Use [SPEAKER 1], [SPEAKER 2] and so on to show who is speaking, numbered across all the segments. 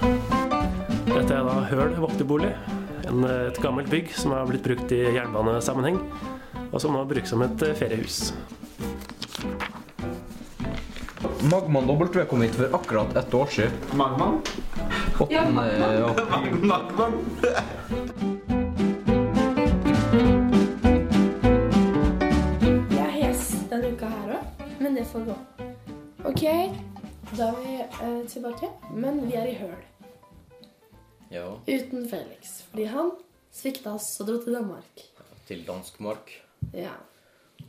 [SPEAKER 1] Dette er da Høl vokterbolig. En, eh, et gammelt bygg som har blitt brukt i jernbanesammenheng, og som nå brukes som et eh, feriehus.
[SPEAKER 2] Magman W kom hit for akkurat ett år siden.
[SPEAKER 3] Magman?
[SPEAKER 2] Åttende april.
[SPEAKER 3] Magman?
[SPEAKER 4] Jeg er hes denne uka her òg, men det får gå. OK, da er vi eh, tilbake. Men vi er i høl.
[SPEAKER 5] Ja,
[SPEAKER 4] Uten Felix. Fordi han svikta oss og dro til Danmark.
[SPEAKER 5] til danskmark.
[SPEAKER 4] Ja.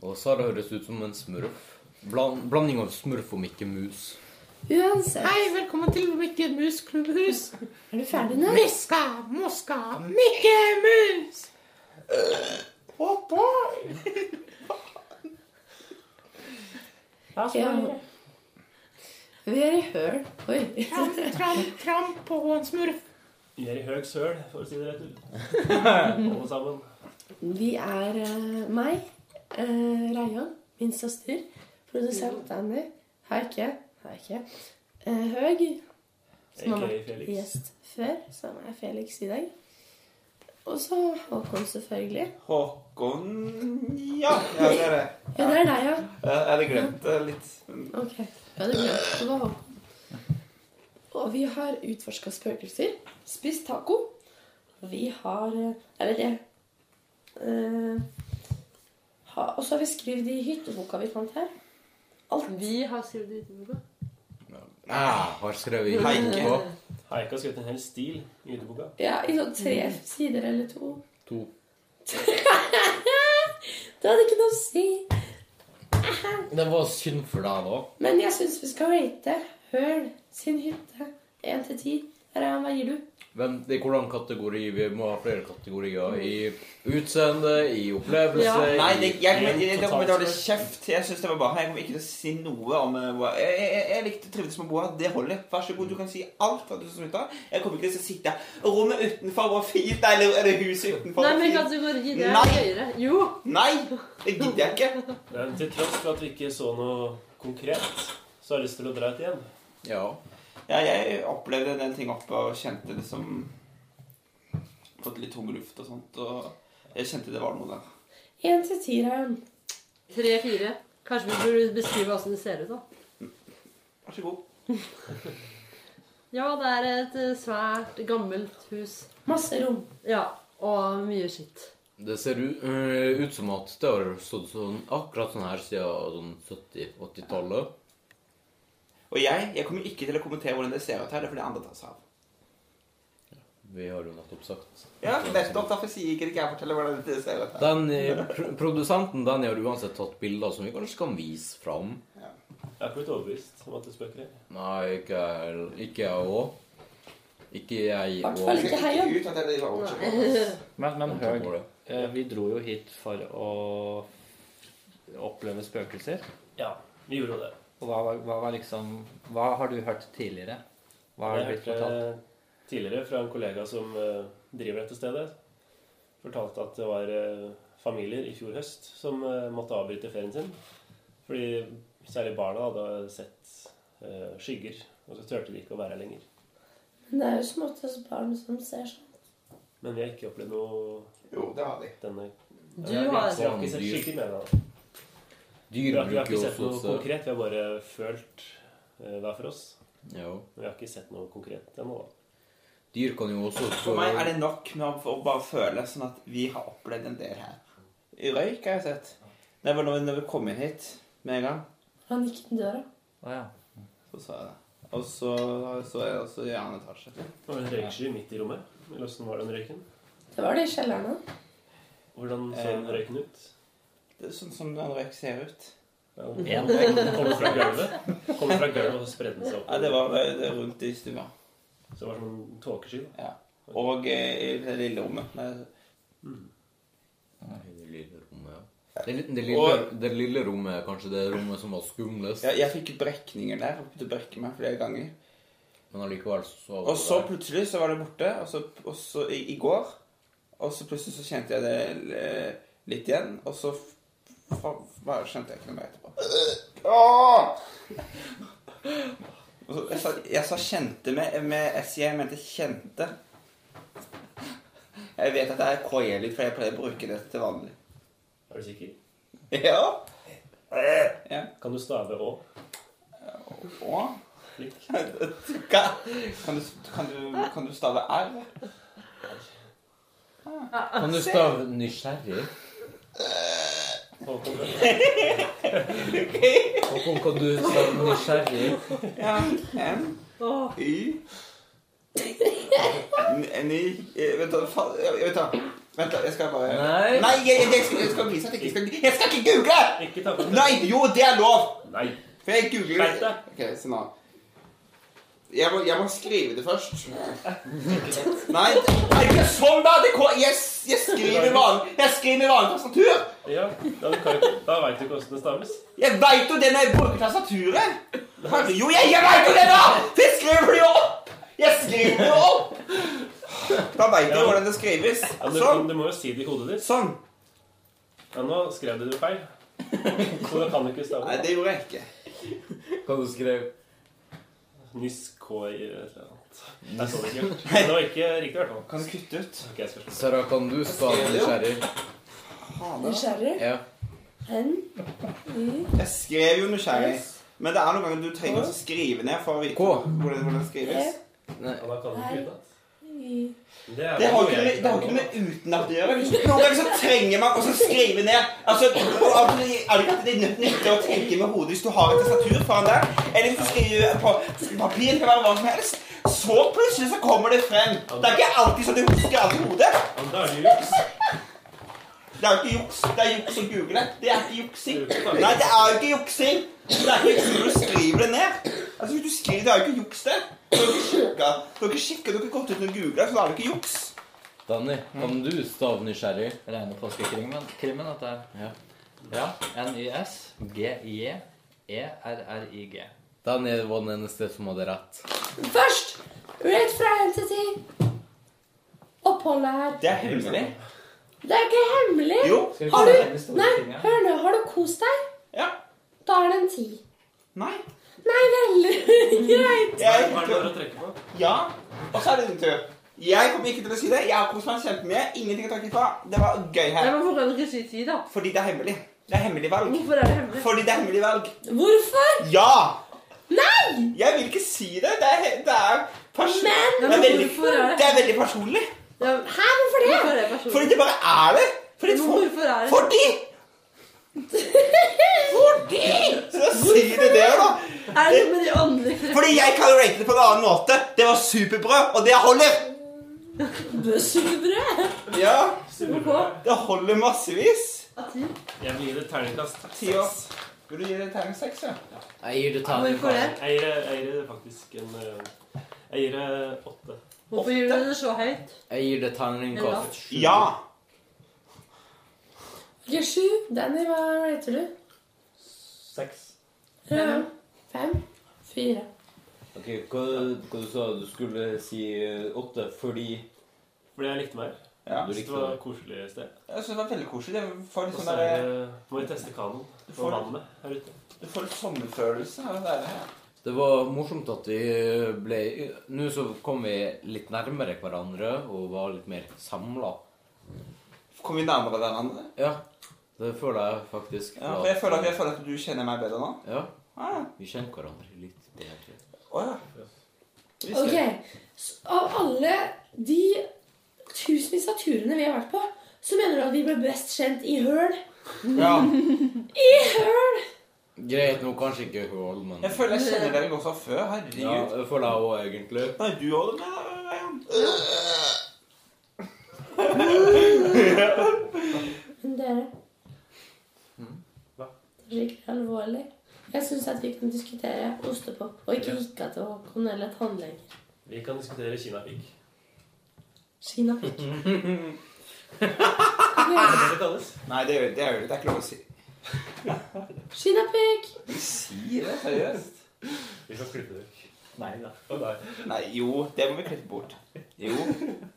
[SPEAKER 5] Og Sara høres ut som en smurf. Blan, blanding av smurf om ikke mus.
[SPEAKER 4] Uansett.
[SPEAKER 6] Hei, velkommen til Mikke Mus klubbhus.
[SPEAKER 4] Er du ferdig nå?
[SPEAKER 6] Miska, moska, Mikke Mus! Oh boy!
[SPEAKER 4] Ja. Vi er i høl. Oi.
[SPEAKER 6] Tramp, tramp, tramp på en smurf.
[SPEAKER 1] Vi er i høg søl, for å si det rett ut. Alle sammen.
[SPEAKER 4] Vi er eh, meg, uh, Rajan, min søster, produsent Annie, Heike, Heike, eh, Høg, som har
[SPEAKER 1] AKA
[SPEAKER 4] vært
[SPEAKER 1] Felix.
[SPEAKER 4] gjest før, som er Felix i dag. Og så Håkon, selvfølgelig.
[SPEAKER 3] Håkon Ja, ja det er det.
[SPEAKER 4] Ja, det er deg, ja.
[SPEAKER 3] Jeg hadde glemt det litt.
[SPEAKER 4] Ok. Ja, det er bra. Det var Håkon. Og vi har utforska spøkelser, spist taco. Vi har eh, Jeg vet ikke. Eh, ha, og så har vi skrevet i hytteboka vi fant her.
[SPEAKER 7] Vi har skrevet det i boka.
[SPEAKER 5] Jeg Ah, har skrevet i
[SPEAKER 3] Heike.
[SPEAKER 5] boka.
[SPEAKER 1] Har jeg ikke skrevet en hel stil i lydboka?
[SPEAKER 4] Ja, I sånn tre
[SPEAKER 7] Mm.
[SPEAKER 4] sider eller to.
[SPEAKER 5] To.
[SPEAKER 4] Det hadde ikke noe å si.
[SPEAKER 5] Det var synd for deg, da.
[SPEAKER 4] Men jeg syns vi skal rate Høl sin hytte én til ti. Rayan, hva gir du?
[SPEAKER 5] Hvem, det er hvordan kategori Vi må ha flere kategorier. I utseende, i opplevelse
[SPEAKER 7] Ja.
[SPEAKER 3] Nei, det, jeg, jeg, jeg,
[SPEAKER 1] Helt
[SPEAKER 3] jeg kommer til å holde
[SPEAKER 1] totalt.
[SPEAKER 3] kjeft. Jeg synes det var bra. Jeg kommer ikke til å si noe om eh, hva Jeg, jeg, jeg likte trivdes med å bo her. Det holder. Vær så god, du kan si alt. hva du synes om hytta. Jeg kommer ikke til å sitte Rommet utenfor var fint. Eller er det huset utenfor?
[SPEAKER 7] Nei,
[SPEAKER 3] var
[SPEAKER 7] men
[SPEAKER 3] fint.
[SPEAKER 7] kategori det
[SPEAKER 3] Nei.
[SPEAKER 7] er høyere. Jo!
[SPEAKER 3] Nei! Det gidder jeg ikke.
[SPEAKER 1] Det er til tross for at vi ikke så noe konkret, så har jeg lyst til å dra ut igjen.
[SPEAKER 5] Ja.
[SPEAKER 3] Ja, jeg opplevde en del ting oppe og kjente liksom Fått litt tung luft og sånt. Og jeg kjente det var noe der.
[SPEAKER 4] Én til ti, Rayan.
[SPEAKER 7] Tre-fire. Kanskje vi burde beskrive åssen det ser ut, da.
[SPEAKER 3] Vær så god.
[SPEAKER 7] Ja, det er et eh, svært gammelt hus.
[SPEAKER 4] Masse rom.
[SPEAKER 7] Ja. Og mye skitt.
[SPEAKER 5] Det ser ut, øh, ut som at det har stått sånn, akkurat sånn her siden sånn 70-80-tallet.
[SPEAKER 3] Og jeg, jeg kommer ikke til å kommentere hvordan det ser ut her. Det er fordi andre tar seg av.
[SPEAKER 5] Vi har jo nettopp sagt
[SPEAKER 3] Ja, nettopp. Derfor sier ikke jeg forteller hvordan det ser ut her.
[SPEAKER 5] Den eh, pr Produsenten den har uansett tatt bilder som vi kanskje kan vise fram.
[SPEAKER 1] Jeg er ikke blitt overbevist om at det spøker her.
[SPEAKER 5] Nei, ikke jeg- ikke jeg òg. Ikke jeg
[SPEAKER 4] Hvert fall
[SPEAKER 5] òg.
[SPEAKER 4] ikke Heian.
[SPEAKER 3] ut at jeg driver og overser på.
[SPEAKER 8] Men, men Høg, eh, vi dro jo hit for å oppleve spøkelser.
[SPEAKER 1] Ja, vi gjorde jo det.
[SPEAKER 8] Og hva, var- hva var liksom Hva har du hørt tidligere? Hva har
[SPEAKER 1] Jeg
[SPEAKER 8] du blitt
[SPEAKER 1] hørte
[SPEAKER 8] fortalt?
[SPEAKER 1] tidligere fra en kollega som eh, driver dette stedet, fortalte at det var eh, familier i fjor høst som eh, måtte avbryte ferien sin. Fordi særlig barna hadde sett eh, skygger, og så turte de ikke å være her lenger.
[SPEAKER 4] Men det er jo som oftest barn som ser sånn.
[SPEAKER 1] Men vi har ikke opplevd noe
[SPEAKER 3] Jo, det har de.
[SPEAKER 1] denne
[SPEAKER 7] Du
[SPEAKER 1] Ja, vi,
[SPEAKER 7] har
[SPEAKER 1] vi har ikke sett skygger, mener jeg. Vi
[SPEAKER 5] Dyr
[SPEAKER 1] har, vi har
[SPEAKER 5] bruker
[SPEAKER 1] ikke
[SPEAKER 5] jo
[SPEAKER 1] sett
[SPEAKER 5] sånn også
[SPEAKER 1] noe
[SPEAKER 5] så-
[SPEAKER 1] konkret. Vi har bare følt eh, hver for oss.
[SPEAKER 5] ja.
[SPEAKER 1] Men vi har ikke sett noe konkret ennå. da.
[SPEAKER 5] Dyr kan jo også
[SPEAKER 3] For meg er det nok med å bare føle sånn at vi har opplevd en del her. Røyk har jeg sett. Det var når vi- når vi kom inn hit med en gang,
[SPEAKER 4] Han gikk inn døra.
[SPEAKER 8] Å ja.
[SPEAKER 3] så sa jeg det. Og så så jeg også i annen etasje.
[SPEAKER 1] Det var en røyksky midt i rommet. Eller Hvordan var den røyken?
[SPEAKER 4] Det var det i kjelleren hans.
[SPEAKER 1] Hvordan så den
[SPEAKER 3] Eh,
[SPEAKER 1] røyken ut?
[SPEAKER 3] Det er sånn som en røyk ser ut.
[SPEAKER 1] Ja, den Kommer fra gulvet, Kommer fra gulvet og så spredde den seg opp.
[SPEAKER 3] Nei, det var eh, det rundt i stua.
[SPEAKER 1] Så det var som en tåkesky. da.
[SPEAKER 3] Ja. Og eh, i det lille rommet. Nei,
[SPEAKER 1] Mm.
[SPEAKER 5] Nei, det lille rommet, ja. Det, li- det, lille,
[SPEAKER 3] Og-
[SPEAKER 5] det lille rommet er kanskje det rommet som var skumlest,
[SPEAKER 3] Jeg, jeg fikk brekninger der. Jeg begynte å brekke meg flere ganger.
[SPEAKER 5] men allikevel så
[SPEAKER 3] Og så plutselig så var det borte. Og så, og så i, i går Og så plutselig så kjente jeg det eh, litt igjen, og så f- fa- bare skjønte jeg ikke noe mer etterpå. Åh! Og så, jeg, sa, jeg sa 'kjente' med, med SJ, jeg mente 'kjente'. Jeg vet at det er KJ-lyd, for jeg pleier å bruke det til vanlig.
[SPEAKER 1] Er du sikker?
[SPEAKER 3] Ja. ja.
[SPEAKER 1] Kan du stave Å?
[SPEAKER 3] Å.
[SPEAKER 1] Flink.
[SPEAKER 3] Kan, kan, du, kan, du, kan du stave R?
[SPEAKER 5] Kan du stave nysgjerrig?
[SPEAKER 1] Håkon,
[SPEAKER 5] Håkon, kan du stave nysgjerrig?
[SPEAKER 3] Ja. M.
[SPEAKER 7] Åh,
[SPEAKER 3] Y N- Ny eh, Vent, da. faen, jeg- jeg- Vent, da. Vent da, jeg skal bare
[SPEAKER 5] Nei.
[SPEAKER 3] Nei, jeg, jeg, jeg, skal, jeg skal vise at jeg ikke skal Jeg skal ikke google!
[SPEAKER 1] Ikke ta på det.
[SPEAKER 3] Nei, jo, det er lov!
[SPEAKER 1] Nei.
[SPEAKER 3] For jeg googler
[SPEAKER 1] Skjerp deg.
[SPEAKER 3] Ok, se nå. Jeg må, jeg må skrive det først. Nei, det er ikke sånn, da! Det, ko- jeg, s- jeg skriver vanlig Jeg skriver vanlig tastatur!
[SPEAKER 1] Ja, da, kan du, da vet du ikke hvordan det staves.
[SPEAKER 3] Jeg veit jo det når jeg bruker tastaturet! Herre, jo, jeg, jeg veit jo det, da! For jeg skriver det jo opp! Jeg skriver det jo opp! Da veit jeg hvordan det skrives.
[SPEAKER 1] Ja, du,
[SPEAKER 3] Sånn.
[SPEAKER 1] du må jo si det i hodet ditt.
[SPEAKER 3] Sånn.
[SPEAKER 1] Ja, nå skrev du det feil. Så da kan du ikke
[SPEAKER 3] Nei,
[SPEAKER 1] stave
[SPEAKER 3] det gjorde jeg ikke.
[SPEAKER 5] Kan du skrive
[SPEAKER 1] Nyskoi eller noe annet. Det er så det ikke. Det var ikke riktig, i hvert fall.
[SPEAKER 3] Kan du kutte ut?
[SPEAKER 1] Ok, jeg skal slutte.
[SPEAKER 5] Sara, kan du stave nysgjerrig?
[SPEAKER 4] Nysgjerrig.
[SPEAKER 5] Ja.
[SPEAKER 4] Hen. I.
[SPEAKER 3] Jeg skrev jo nysgjerrig.
[SPEAKER 4] S.
[SPEAKER 3] Men det er noen ganger du trenger å skrive ned for å vite
[SPEAKER 5] K.
[SPEAKER 3] hvordan hvordan det skrives.
[SPEAKER 5] Nei.
[SPEAKER 1] Ja, da kan du ikke utenat.
[SPEAKER 4] I.
[SPEAKER 1] Det er
[SPEAKER 3] Det har
[SPEAKER 1] jo
[SPEAKER 3] ikke
[SPEAKER 1] jeg
[SPEAKER 3] med, det har ikke
[SPEAKER 1] kan.
[SPEAKER 3] med utenat å gjøre. Noen ganger så trenger man også å skrive ned. Altså, og av- Er det ikke at det er nytt- nyttig å tenke med hodet hvis du har et tastatur foran deg? Eller hvis du skriver på papir, det kan være hva som helst. Så plutselig så kommer det frem. Det er ikke alltid så du husker alt i hodet.
[SPEAKER 1] Ja, Da er det jo juks.
[SPEAKER 3] Det er jo ikke juks. Det er juks å google. Det er ikke juksing.
[SPEAKER 1] Det er jo ikke-
[SPEAKER 3] Nei, det er jo ikke juksing. Det er ikke juksing når du skriver det ned. Altså, hvis du skriver, Det er jo ikke juks, det. Du har ikke sjekka, du har ikke sjekket, du har ikke gått ut og googla, så da er det ikke juks.
[SPEAKER 5] Danny, kan du stave nysgjerrig?
[SPEAKER 8] Reine påskekrimmen, krimmen, dette her. Ja. E N-Y-S-G-I-E-R-R-I-G.
[SPEAKER 5] Danny var den eneste som hadde rett.
[SPEAKER 4] Først, rett fra N til ti. Oppholdet her.
[SPEAKER 3] Det er hemmelig.
[SPEAKER 4] Det er ikke hemmelig.
[SPEAKER 3] Jo.
[SPEAKER 4] Har du Nei, hør nå. Har du kost deg?
[SPEAKER 3] Ja.
[SPEAKER 4] Da er det en ti.
[SPEAKER 3] Nei.
[SPEAKER 4] Nei vel. Greit.
[SPEAKER 1] Hva
[SPEAKER 3] Jeg,
[SPEAKER 1] er det du har å trekke på?
[SPEAKER 3] ja. Og så er det din tur. Jeg kommer ikke til å si det. Jeg har kost meg kjempemye. Ingenting å takke for. Det var gøy
[SPEAKER 7] Nei,
[SPEAKER 3] her.
[SPEAKER 7] men hvorfor kan du ikke si ti, da?
[SPEAKER 3] Fordi det er hemmelig. Det er hemmelig valg.
[SPEAKER 7] Hvorfor er det hemmelig?
[SPEAKER 3] Fordi det er hemmelig valg.
[SPEAKER 4] Hvorfor?
[SPEAKER 3] Ja!
[SPEAKER 4] Nei!
[SPEAKER 3] Jeg vil ikke si det. Det er, he- det er personlig.
[SPEAKER 4] Men-
[SPEAKER 3] det, er veldig,
[SPEAKER 7] Hvorfor er det-
[SPEAKER 3] det er veldig personlig.
[SPEAKER 7] Ja,
[SPEAKER 4] Hæ, hvorfor det?
[SPEAKER 7] hvorfor er det personlig?
[SPEAKER 3] Fordi det bare er det. Fordi
[SPEAKER 7] Men
[SPEAKER 3] for,
[SPEAKER 7] hvorfor er det-
[SPEAKER 3] Fordi! Fordi! Så da sier du det, da.
[SPEAKER 7] Er det noe med de åndelige
[SPEAKER 3] Fordi jeg kan rate det på en annen måte. Det var superbra, og det holder.
[SPEAKER 4] Bøssebrød.
[SPEAKER 3] Ja,
[SPEAKER 7] kreftene på?
[SPEAKER 3] det holder massevis.
[SPEAKER 7] Av ti?
[SPEAKER 1] Jeg vil gi det terningkast
[SPEAKER 3] Ti år. Vil du gi det terning seks, ja?
[SPEAKER 5] Jeg gir det
[SPEAKER 7] Hvorfor det?
[SPEAKER 1] Jeg gir det- jeg gir det faktisk en eh, Jeg gir det åtte.
[SPEAKER 7] Hvorfor gjør du det så høyt?
[SPEAKER 5] Jeg gir det terningkast sju.
[SPEAKER 3] Ja.
[SPEAKER 4] Ikke sju. Danny, hva rater du?
[SPEAKER 1] Seks.
[SPEAKER 4] Ja. Fem. Fire.
[SPEAKER 5] Ok, hva, hva du sa du skulle si eh, åtte fordi
[SPEAKER 1] Fordi jeg likte meg.
[SPEAKER 3] ja.
[SPEAKER 5] Du
[SPEAKER 1] Jeg synes
[SPEAKER 5] likte
[SPEAKER 1] det var
[SPEAKER 5] det?
[SPEAKER 1] koselig i sted.
[SPEAKER 3] Jeg synes det var veldig koselig. Jeg får
[SPEAKER 1] Og
[SPEAKER 3] litt
[SPEAKER 1] så
[SPEAKER 3] sånn
[SPEAKER 1] er
[SPEAKER 3] der,
[SPEAKER 1] det- må vi teste kanoen
[SPEAKER 3] Du
[SPEAKER 1] og
[SPEAKER 3] får-
[SPEAKER 1] vannet her ute.
[SPEAKER 3] du får litt sommerfølelse av det der.
[SPEAKER 5] Det var morsomt at vi eh, ble Nå så kom vi litt nærmere hverandre og var litt mer samla.
[SPEAKER 3] Kom vi nærmere hverandre?
[SPEAKER 5] Ja. Det føler jeg faktisk.
[SPEAKER 3] Ja,
[SPEAKER 5] var-
[SPEAKER 3] for jeg føler, at, jeg føler at du kjenner meg bedre nå.
[SPEAKER 5] Ja.
[SPEAKER 3] Ah,
[SPEAKER 5] Vi kjenner hverandre litt bedre.
[SPEAKER 3] å ja. Visst
[SPEAKER 4] Ok.
[SPEAKER 3] det.
[SPEAKER 4] Så av alle de tusenvis av turene vi har vært på, så mener du at vi ble best kjent i høl?
[SPEAKER 3] Ja.
[SPEAKER 4] I høl!
[SPEAKER 5] Greit nå, kanskje ikke Hål, men
[SPEAKER 3] Jeg føler jeg kjenner dere godt fra før.
[SPEAKER 5] Ja,
[SPEAKER 3] Herregud.
[SPEAKER 5] jeg føler jeg òg, egentlig.
[SPEAKER 3] Nei, du holder med Ryan.
[SPEAKER 4] Men dere
[SPEAKER 1] Hva?
[SPEAKER 4] Det er skikkelig alvorlig. Jeg syns at vi kan diskutere ostepop og ikke gikk av til Håkon eller tannleger.
[SPEAKER 1] Vi kan diskutere kinapigg.
[SPEAKER 4] Kinapikk.
[SPEAKER 1] Hva er det det kalles?
[SPEAKER 3] Nei, det gjør det gjør det. Det er ikke lov å si.
[SPEAKER 4] Kinapikk!
[SPEAKER 3] Si det seriøst.
[SPEAKER 1] Vi kan klippe det vekk.
[SPEAKER 8] Nei da.
[SPEAKER 3] Nei, jo, det må vi klippe bort. Jo.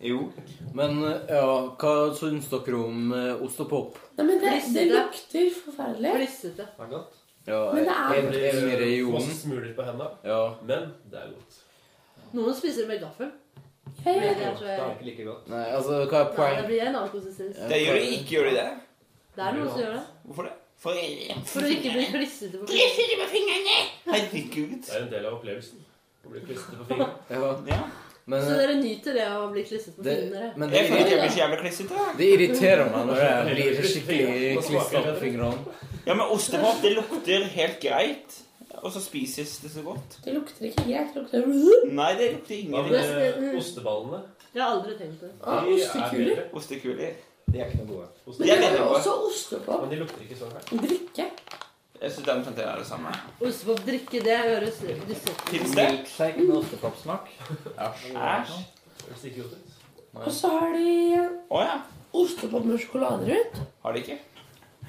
[SPEAKER 3] Jo.
[SPEAKER 5] Men eh, ja, hva syns dere om eh, ostepop?
[SPEAKER 4] Nei, men det, det
[SPEAKER 7] Klissete.
[SPEAKER 4] lukter forferdelig.
[SPEAKER 7] Klissete.
[SPEAKER 1] Det er godt.
[SPEAKER 5] Ja,
[SPEAKER 4] Men det er-
[SPEAKER 5] en, en i regionen.
[SPEAKER 1] eh, smuler på hendene,
[SPEAKER 5] Ja.
[SPEAKER 1] men det er godt.
[SPEAKER 7] Noen spiser det med gaffel.
[SPEAKER 4] Jeg,
[SPEAKER 7] Det
[SPEAKER 4] jeg,
[SPEAKER 7] er, tror
[SPEAKER 8] Det er
[SPEAKER 7] jeg,
[SPEAKER 8] ikke like godt.
[SPEAKER 5] Nei, altså, hva er
[SPEAKER 7] nei, det
[SPEAKER 5] poeng?
[SPEAKER 7] blir en annen konsistens.
[SPEAKER 5] Ja,
[SPEAKER 3] Det gjør de
[SPEAKER 5] poeng-
[SPEAKER 3] ikke, gjør de det?
[SPEAKER 7] Det er noen som gjør det.
[SPEAKER 3] Hvorfor det? For
[SPEAKER 7] For å ikke bli klissete på fingrene.
[SPEAKER 3] Herregud.
[SPEAKER 1] Det er en del av opplevelsen. Å bli klistret på fingeren.
[SPEAKER 5] Ja,
[SPEAKER 3] Ja.
[SPEAKER 5] men
[SPEAKER 7] Så
[SPEAKER 5] eh,
[SPEAKER 7] dere nyter det av å bli klissete på
[SPEAKER 5] det,
[SPEAKER 7] fingrene? dere?
[SPEAKER 5] men det,
[SPEAKER 3] Jeg føler ikke jeg blir så jævla klissete.
[SPEAKER 5] det irriterer meg når jeg blir skikkelig klistra på fingrene.
[SPEAKER 3] Ja, men ostepop, det lukter helt greit. Og så spises det så godt.
[SPEAKER 4] det lukter ikke greit. Det lukter
[SPEAKER 3] Nei, det lukter
[SPEAKER 1] Hva
[SPEAKER 3] ingen
[SPEAKER 1] med eh, osteballene?
[SPEAKER 7] Jeg har aldri tenkt det.
[SPEAKER 4] ah,
[SPEAKER 1] De er
[SPEAKER 4] ostekuler.
[SPEAKER 1] bedre.
[SPEAKER 3] ostekuler.
[SPEAKER 8] De er ikke noe gode.
[SPEAKER 4] Men
[SPEAKER 1] Ostekuler.
[SPEAKER 4] det
[SPEAKER 3] Jeg vet
[SPEAKER 4] er jo
[SPEAKER 3] ikke.
[SPEAKER 4] også ostepop.
[SPEAKER 1] Men de lukter ikke sånn her.
[SPEAKER 4] Drikke.
[SPEAKER 3] Jeg synes den fremdeles er det samme.
[SPEAKER 7] Ostepop drikke, det høres dystopisk
[SPEAKER 3] Fins det?
[SPEAKER 8] Milkshake med ostepopsmak.
[SPEAKER 3] Æsj.
[SPEAKER 1] Høres ikke godt ut.
[SPEAKER 4] Og så har de
[SPEAKER 3] Å ja.
[SPEAKER 4] ostepop med sjokolade rundt.
[SPEAKER 3] Har de ikke?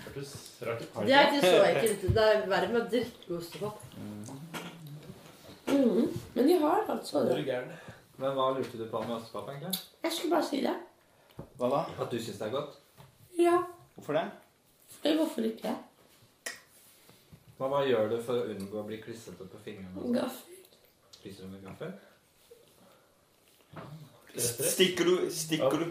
[SPEAKER 1] Hørtes rart ut.
[SPEAKER 7] ut. Det er ikke så ekkelt. Det er verre med å drikke ostepop.
[SPEAKER 4] Mhm. Men de har altså
[SPEAKER 1] Er
[SPEAKER 4] det.
[SPEAKER 1] du gæren?
[SPEAKER 8] Men hva lurte du på med ostepop, egentlig?
[SPEAKER 4] Jeg skulle bare si det.
[SPEAKER 3] Hva da?
[SPEAKER 8] At du syns det er godt?
[SPEAKER 4] Ja.
[SPEAKER 3] Hvorfor det?
[SPEAKER 4] Fordi hvorfor ikke?
[SPEAKER 8] Men hva gjør du for å unngå å bli klissete på fingrene?
[SPEAKER 4] Gaffel.
[SPEAKER 8] Spiser du med gaffel?
[SPEAKER 3] Stikker du Stikker du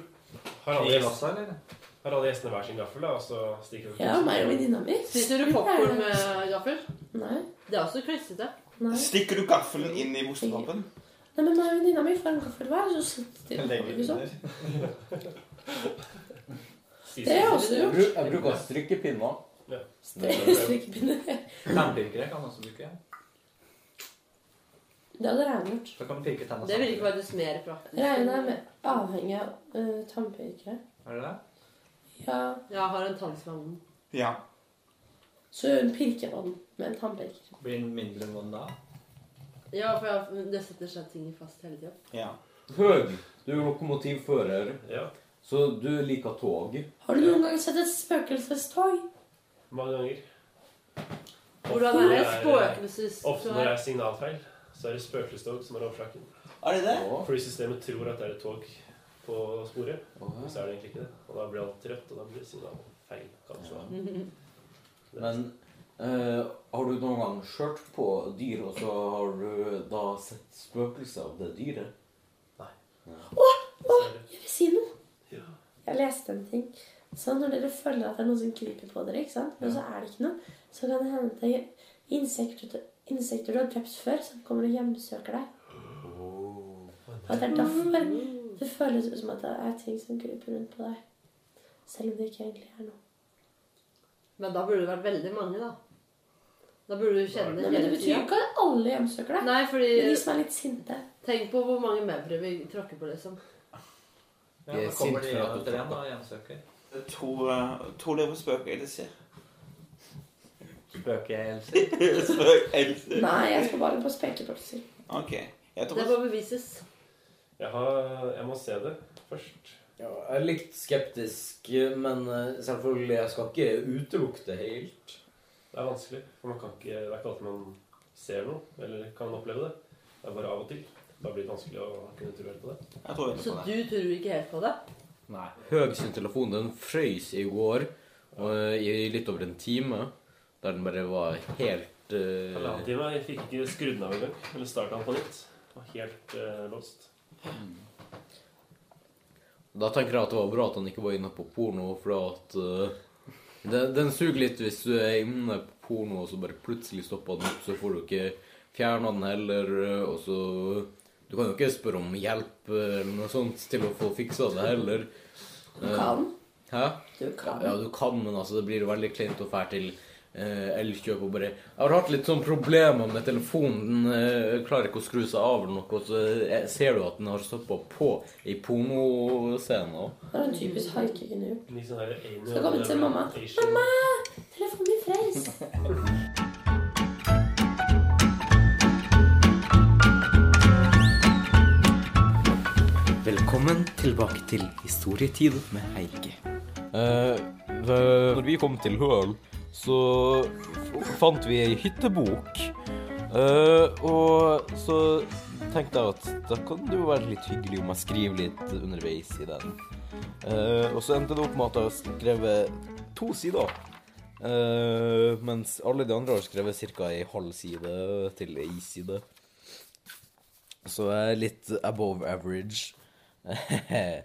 [SPEAKER 1] Har alle,
[SPEAKER 8] I
[SPEAKER 1] gjest-
[SPEAKER 8] lassa, eller?
[SPEAKER 1] har alle gjestene hver sin gaffel, da, og så stikker vi
[SPEAKER 4] Ja, meg og venninna mi.
[SPEAKER 7] Spiser du popkorn med gaffel?
[SPEAKER 4] Nei.
[SPEAKER 7] Det er også klissete.
[SPEAKER 4] Nei.
[SPEAKER 3] Stikker du gaffelen inn i ostepopen?
[SPEAKER 4] Nei, men meg og venninna mi får en gaffel hver, så sitter de
[SPEAKER 8] Legger
[SPEAKER 4] ikke
[SPEAKER 8] under.
[SPEAKER 4] sånn. Det er også
[SPEAKER 5] Jeg
[SPEAKER 4] gjort.
[SPEAKER 5] bru- jeg bruker å stryke pinner.
[SPEAKER 4] Strikkepinner.
[SPEAKER 8] Tannpirkere kan også bruke.
[SPEAKER 4] Det hadde Reine gjort.
[SPEAKER 8] Da kan du pirke tenna
[SPEAKER 7] Det vil ikke være dess mer praktisk.
[SPEAKER 4] Reine er med- avhengig av eh, tannpirkere.
[SPEAKER 8] Er det det?
[SPEAKER 4] Ja,
[SPEAKER 7] Jeg har en tann som er vond.
[SPEAKER 3] Ja.
[SPEAKER 4] så hun pirker på den med en tannpirker.
[SPEAKER 8] Blir den mindre vond da?
[SPEAKER 7] Ja, for jeg, det setter seg ting fast hele tida.
[SPEAKER 3] ja.
[SPEAKER 5] Høg, du er lokomotivfører,
[SPEAKER 1] Ja,
[SPEAKER 5] så du liker tog.
[SPEAKER 4] Har du noen gang sett et spøkelsestog?
[SPEAKER 1] mange ganger.
[SPEAKER 7] Hvordan
[SPEAKER 1] Ofte når
[SPEAKER 7] er det?
[SPEAKER 1] det er-
[SPEAKER 7] Spøkelses...
[SPEAKER 1] Ofte når det er signalfeil, så er det spøkelsestog som er overflakken.
[SPEAKER 3] Er det det?
[SPEAKER 5] Ja.
[SPEAKER 1] Fordi systemet tror at det er et tog på sporet, men så er det egentlig ikke det. Og da blir alt rødt, og da blir signalet feil. kanskje. Det er-
[SPEAKER 5] Men eh, har du noen gang kjørt på dyr, og så har du da sett spøkelser av det dyret?
[SPEAKER 1] så er det-
[SPEAKER 4] Jeg vil si noe.
[SPEAKER 1] Ja.
[SPEAKER 4] Jeg leste en ting. Så når dere føler at det er noen som kryper på dere, ikke sant? men så er det ikke noe, så kan det hende at det er insekter, insekter du har drept før, som kommer og hjemsøker deg. Og at det er derfor det føles ut som at det er ting som kryper rundt på deg. Selv om det ikke egentlig er noe.
[SPEAKER 7] Men da burde det vært veldig mange, da. Da burde du kjenne
[SPEAKER 4] Nei, men Det
[SPEAKER 7] hele
[SPEAKER 4] betyr jo
[SPEAKER 7] tida.
[SPEAKER 4] ikke at alle hjemsøker deg.
[SPEAKER 7] Nei,
[SPEAKER 4] Men de
[SPEAKER 7] fordi
[SPEAKER 4] som er litt sinte.
[SPEAKER 7] Tenk på hvor mange mevre vi tråkker på, liksom.
[SPEAKER 8] Ja,
[SPEAKER 5] Jeg
[SPEAKER 8] da
[SPEAKER 5] er
[SPEAKER 8] kommer
[SPEAKER 5] sint
[SPEAKER 8] de
[SPEAKER 5] for
[SPEAKER 8] igjen
[SPEAKER 5] at du
[SPEAKER 8] etter en
[SPEAKER 5] tok
[SPEAKER 8] da, hjemsøker.
[SPEAKER 3] Det er To, eh, to lever spøker i det ser.
[SPEAKER 8] Spøker jeg helst.
[SPEAKER 3] Spøk Else.
[SPEAKER 4] Nei, jeg skal bare på spekepølser.
[SPEAKER 3] OK. Jeg
[SPEAKER 7] Det
[SPEAKER 3] tror
[SPEAKER 7] må bevises.
[SPEAKER 1] Jeg, har, jeg må se det først.
[SPEAKER 5] Ja, jeg er litt skeptisk, men eh, selvfølgelig, jeg skal ikke utelukke det helt.
[SPEAKER 1] Det er vanskelig, for man kan ikke, det er ikke alltid man ser noe, eller kan oppleve det. Det er bare av og til. Da blir det vanskelig å kunne tro helt på det.
[SPEAKER 3] Jeg tror
[SPEAKER 7] Så
[SPEAKER 3] ikke på
[SPEAKER 7] du
[SPEAKER 3] det.
[SPEAKER 7] tror ikke helt på det?
[SPEAKER 5] Nei. Høg sin telefon, den frøys i går og eh, i litt over en time, der den bare var helt eh,
[SPEAKER 1] Halvannen time, jeg fikk ikke skrudd den av engang, eller startet den på nytt. Det var helt eh, låst.
[SPEAKER 5] Da tenker jeg at det var bra at han ikke var inne på porno, for at eh, den, den suger litt hvis du er inne på porno, og så bare plutselig stopper den opp, så får du ikke fjerna den heller, eh, og så Du kan jo ikke spørre om hjelp eh, eller noe sånt til å få fiksa det heller.
[SPEAKER 4] Du kan.
[SPEAKER 5] Hæ?
[SPEAKER 4] Du kan.
[SPEAKER 5] Ja, du kan, men altså, det blir jo veldig kleint å fære til eh, Elkjøp og bare Jeg har hatt litt sånne problemer med telefonen. Den eh, klarer ikke å skru seg av eller noe, og så eh, ser du at den har stoppa på i pornoscenen. også.
[SPEAKER 4] Det er en typisk haikegenur.
[SPEAKER 1] Litt sånn her anal-
[SPEAKER 4] Skal komme til mamma.
[SPEAKER 1] Asian-
[SPEAKER 4] Telefonen min frøys.
[SPEAKER 9] Velkommen tilbake til historietid med Heike.
[SPEAKER 5] Eh, det, når vi kom til Høl, så f- fant vi ei hyttebok. Eh, og så tenkte jeg at da kan det jo være litt hyggelig om jeg skriver litt underveis i den. Eh, og så endte det opp med at jeg har skrevet to sider. Eh, mens alle de andre har skrevet ca. ei halv side til ei side. Så jeg er litt above average. Eh,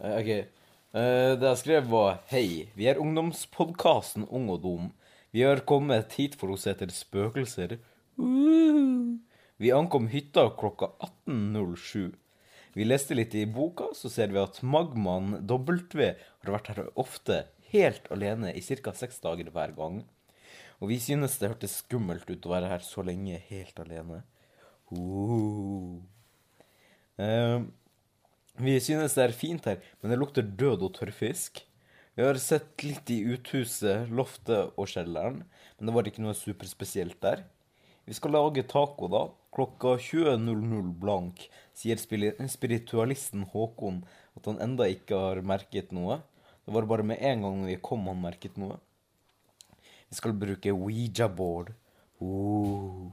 [SPEAKER 5] OK. Eh, det jeg skrev, var Hei, vi er ungdomspodkasten Ung og dum. Vi har kommet hit for å se etter spøkelser. Uh. Vi ankom hytta klokka 18.07. Vi leste litt i boka, så ser vi at magmaen W har vært her ofte, helt alene, i ca. seks dager hver gang. Og vi synes det hørtes skummelt ut å være her så lenge helt alene. Uh. Eh, vi synes det er fint her, men det lukter død og tørrfisk. Vi har sett litt i uthuset, loftet og kjelleren, men det var ikke noe superspesielt der. Vi skal lage taco da, klokka 20.00 blank, sier spili- spiritualisten Håkon at han enda ikke har merket noe. Det var bare med en gang vi kom han merket noe. Vi skal bruke Ouija-board. Oh.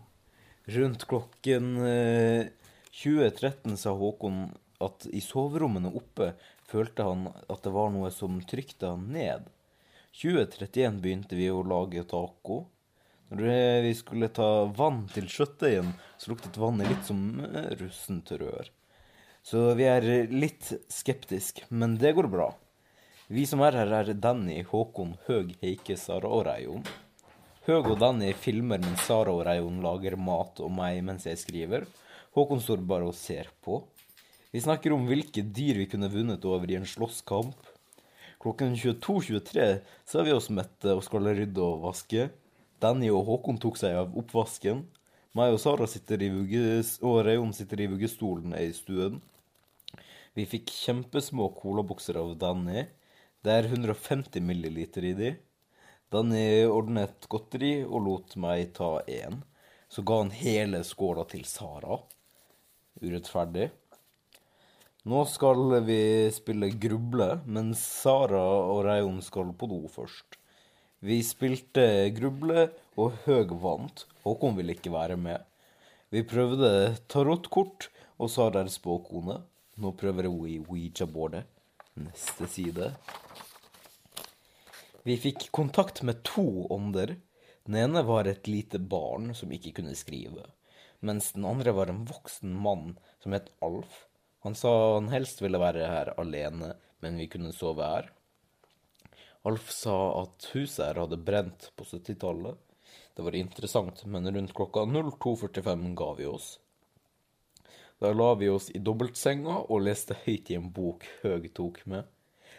[SPEAKER 5] Rundt klokken eh, 20.13 sa Håkon at i soverommene oppe følte han at det var noe som trykte han ned. 20.31 begynte vi å lage taco. Når det- vi skulle ta vann til kjøttdeigen, så luktet vannet litt som eh, russent rør. Så vi er litt skeptisk, men det går bra. Vi som er her, er Danny, Håkon, Høg, Heike, Sara og Reion. Høg og Danny filmer mens Sara og Reion lager mat og meg mens jeg skriver. Håkon står bare og ser på. Vi snakker om hvilke dyr vi kunne vunnet over i en slåsskamp. Klokken 22.23 så er vi oss mette og skal rydde og vaske. Danny og Håkon tok seg av oppvasken. Meg og Sara sitter i vugges, og Reion sitter i vuggestolen i stuen. Vi fikk kjempesmå colabokser av Danny. Det er 150 milliliter i de. Danny ordnet godteri og lot meg ta én. Så ga han hele skåla til Sara. Urettferdig. Nå skal vi spille gruble, mens Sara og Reion skal på do først. Vi spilte gruble, og Høg vant. Håkon ville ikke være med. Vi prøvde tarotkort, og Sara er spåkone. Nå prøver vi Ouija-bordet. Neste side. Vi fikk kontakt med to ånder. Den ene var et lite barn som ikke kunne skrive, mens den andre var en voksen mann som het Alf. Han sa han helst ville være her alene, men vi kunne sove her. Alf sa at huset her hadde brent på 70-tallet. Det var interessant, men rundt klokka 02.45 ga vi oss. Da la vi oss i dobbeltsenga og leste høyt i en bok Høg tok med.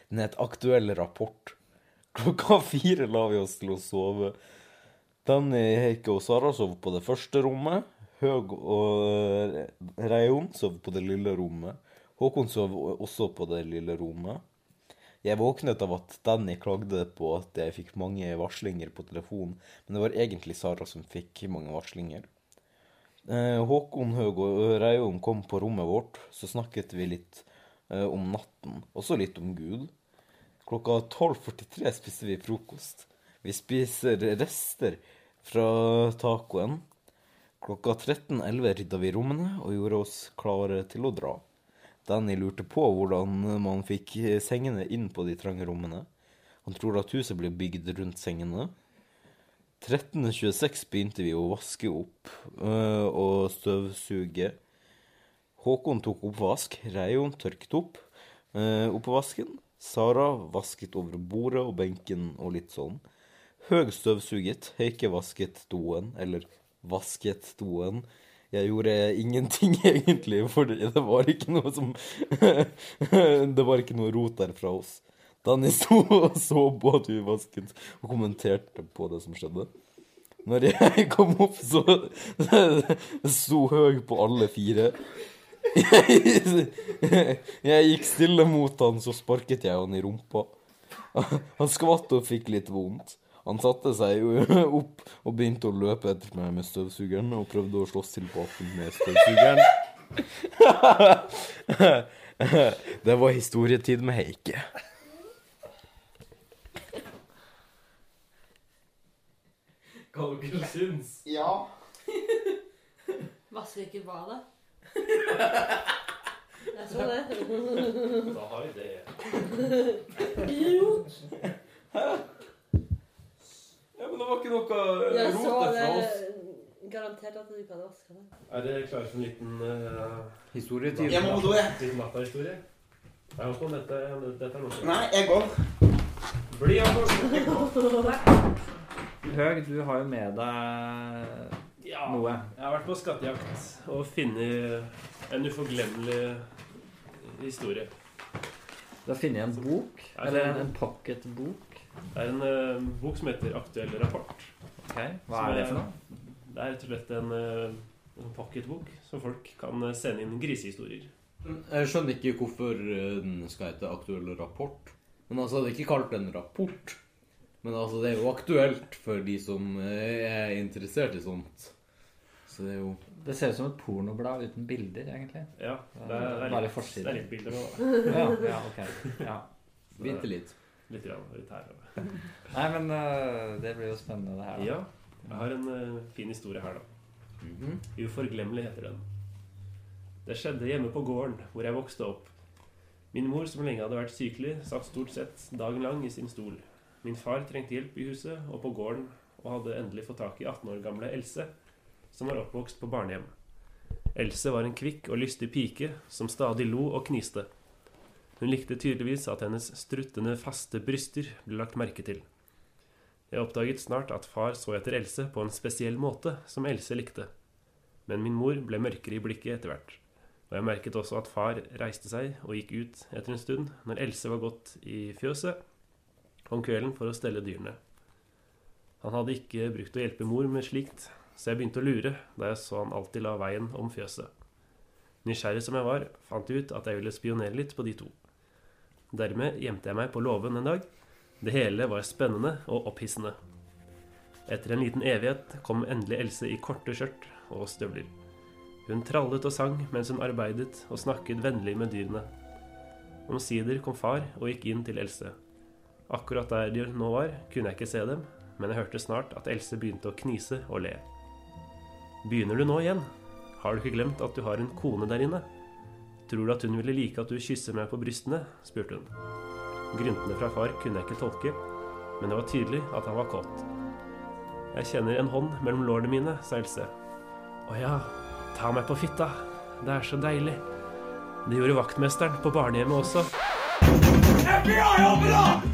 [SPEAKER 5] Den het Aktuell rapport. Klokka fire la vi oss til å sove. Danny, Heike og Sara sov på det første rommet. Høg og Reion sov på det lille rommet. Håkon sov også på det lille rommet. Jeg våknet av at Danny klagde på at jeg fikk mange varslinger på telefon, men det var egentlig Sara som fikk mange varslinger. Eh, Håkon Høg og Reion kom på rommet vårt, så snakket vi litt eh, om natten, også litt om Gud. Klokka 12.43 spiste vi frokost. Vi spiser rester fra tacoen. Klokka 13.11 rydda vi rommene og gjorde oss klare til å dra. Danny lurte på hvordan man fikk sengene inn på de trange rommene. Han tror at huset ble bygd rundt sengene. 13.26 begynte vi å vaske opp øh, og støvsuge. Håkon tok oppvask, Reion tørket opp eh, oppvasken. Sara vasket over bordet og benken og litt sånn. Høg støvsuget, Heike vasket doen, eller vasket doen. Jeg gjorde ingenting egentlig, for det var ikke noe som Det var ikke noe rot der fra oss. Danny sto og så på at vi vasket, og kommenterte på det som skjedde. Når jeg kom opp, så sto Høg på alle fire. Jeg gikk stille mot han, så sparket jeg han i rumpa. Han skvatt og fikk litt vondt. Han satte seg jo opp og begynte å løpe etter meg med støvsugeren og prøvde å slåss tilbake med støvsugeren. Det var historietid med Heike.
[SPEAKER 10] Hva dere syns?
[SPEAKER 3] Ja.
[SPEAKER 7] Vasker ikke badet. Jeg så det.
[SPEAKER 1] Da har vi det.
[SPEAKER 7] Idiot.
[SPEAKER 10] Ja, men det var ikke noe
[SPEAKER 7] Jeg så
[SPEAKER 10] rot
[SPEAKER 7] det.
[SPEAKER 10] fra oss.
[SPEAKER 7] Garantert at du ikke hadde vasket det.
[SPEAKER 1] Er dere klare for en liten eh,
[SPEAKER 11] Historietid.
[SPEAKER 3] Jeg må på do, jeg.
[SPEAKER 1] liten nattahistorie? Nei, Håkon, dette, dette er noe.
[SPEAKER 3] Nei, jeg går.
[SPEAKER 1] Bli, Håkon!
[SPEAKER 8] Høg, du har jo med deg
[SPEAKER 1] Ja.
[SPEAKER 8] noe.
[SPEAKER 1] Jeg har vært på skattejakt og funnet en uforglemmelig historie.
[SPEAKER 8] Du har funnet en bok,
[SPEAKER 1] Ja,
[SPEAKER 8] eller en,
[SPEAKER 1] sånn.
[SPEAKER 8] en pocketbok.
[SPEAKER 1] Det er en eh, bok som heter Aktuell rapport.
[SPEAKER 8] Ok, Hva er det for noe?
[SPEAKER 1] Det er rett og slett en, eh, en pocketbok som folk kan eh, sende inn grisehistorier.
[SPEAKER 11] Eh, Jeg skjønner ikke hvorfor eh, den skal hete aktuell rapport. Men altså, det er ikke kalt en rapport. Men altså, det er jo aktuelt for de som eh, er interessert i sånt. Så det er jo
[SPEAKER 8] Det ser ut som et pornoblad uten bilder, egentlig.
[SPEAKER 1] Ja, det er, det er,
[SPEAKER 8] Bare
[SPEAKER 1] litt,
[SPEAKER 8] forsiden.
[SPEAKER 1] det er litt bilder nå, da.
[SPEAKER 8] Ja, ja ok. Ja.
[SPEAKER 11] Vente litt.
[SPEAKER 1] Litt, grann, litt her. og-
[SPEAKER 8] Nei, men øh, det blir jo spennende, det her. da.
[SPEAKER 1] Ja, jeg har en eh, fin historie her, da.
[SPEAKER 11] Mhm.
[SPEAKER 1] Uforglemmelig heter den. Det skjedde hjemme på gården, hvor jeg vokste opp. Min mor, som lenge hadde vært sykelig, satt stort sett dagen lang i sin stol. Min far trengte hjelp i huset og på gården, og hadde endelig fått tak i 18 år gamle Else, som var oppvokst på barnehjem. Else var en kvikk og lystig pike som stadig lo og kniste. Hun likte tydeligvis at hennes struttende, faste bryster ble lagt merke til. Jeg oppdaget snart at far så etter Else på en spesiell måte som Else likte. Men min mor ble mørkere i blikket etter hvert. Og jeg merket også at far reiste seg og gikk ut etter en stund når Else var gått i fjøset om kvelden for å stelle dyrene. Han hadde ikke brukt å hjelpe mor med slikt, så jeg begynte å lure da jeg så han alltid la veien om fjøset. Nysgjerrig som jeg var, fant jeg ut at jeg ville spionere litt på de to. Dermed gjemte jeg meg på låven en dag. Det hele var spennende og opphissende. Etter en liten evighet kom endelig Else i korte skjørt og støvler. Hun trallet og sang mens hun arbeidet og snakket vennlig med dyrene. Omsider kom far og gikk inn til Else. Akkurat der de nå var, kunne jeg ikke se dem, men jeg hørte snart at Else begynte å knise og le. Begynner du nå igjen? Har du ikke glemt at du har en kone der inne? Tror du at hun ville like at du kysser meg på brystene? spurte hun. Gryntene fra far kunne jeg ikke tolke, men det var tydelig at han var kåt. Jeg kjenner en hånd mellom lårene mine, sa Else. Å ja, ta meg på fitta. Det er så deilig. Det gjorde vaktmesteren på barnehjemmet også.
[SPEAKER 3] FBI, åpne!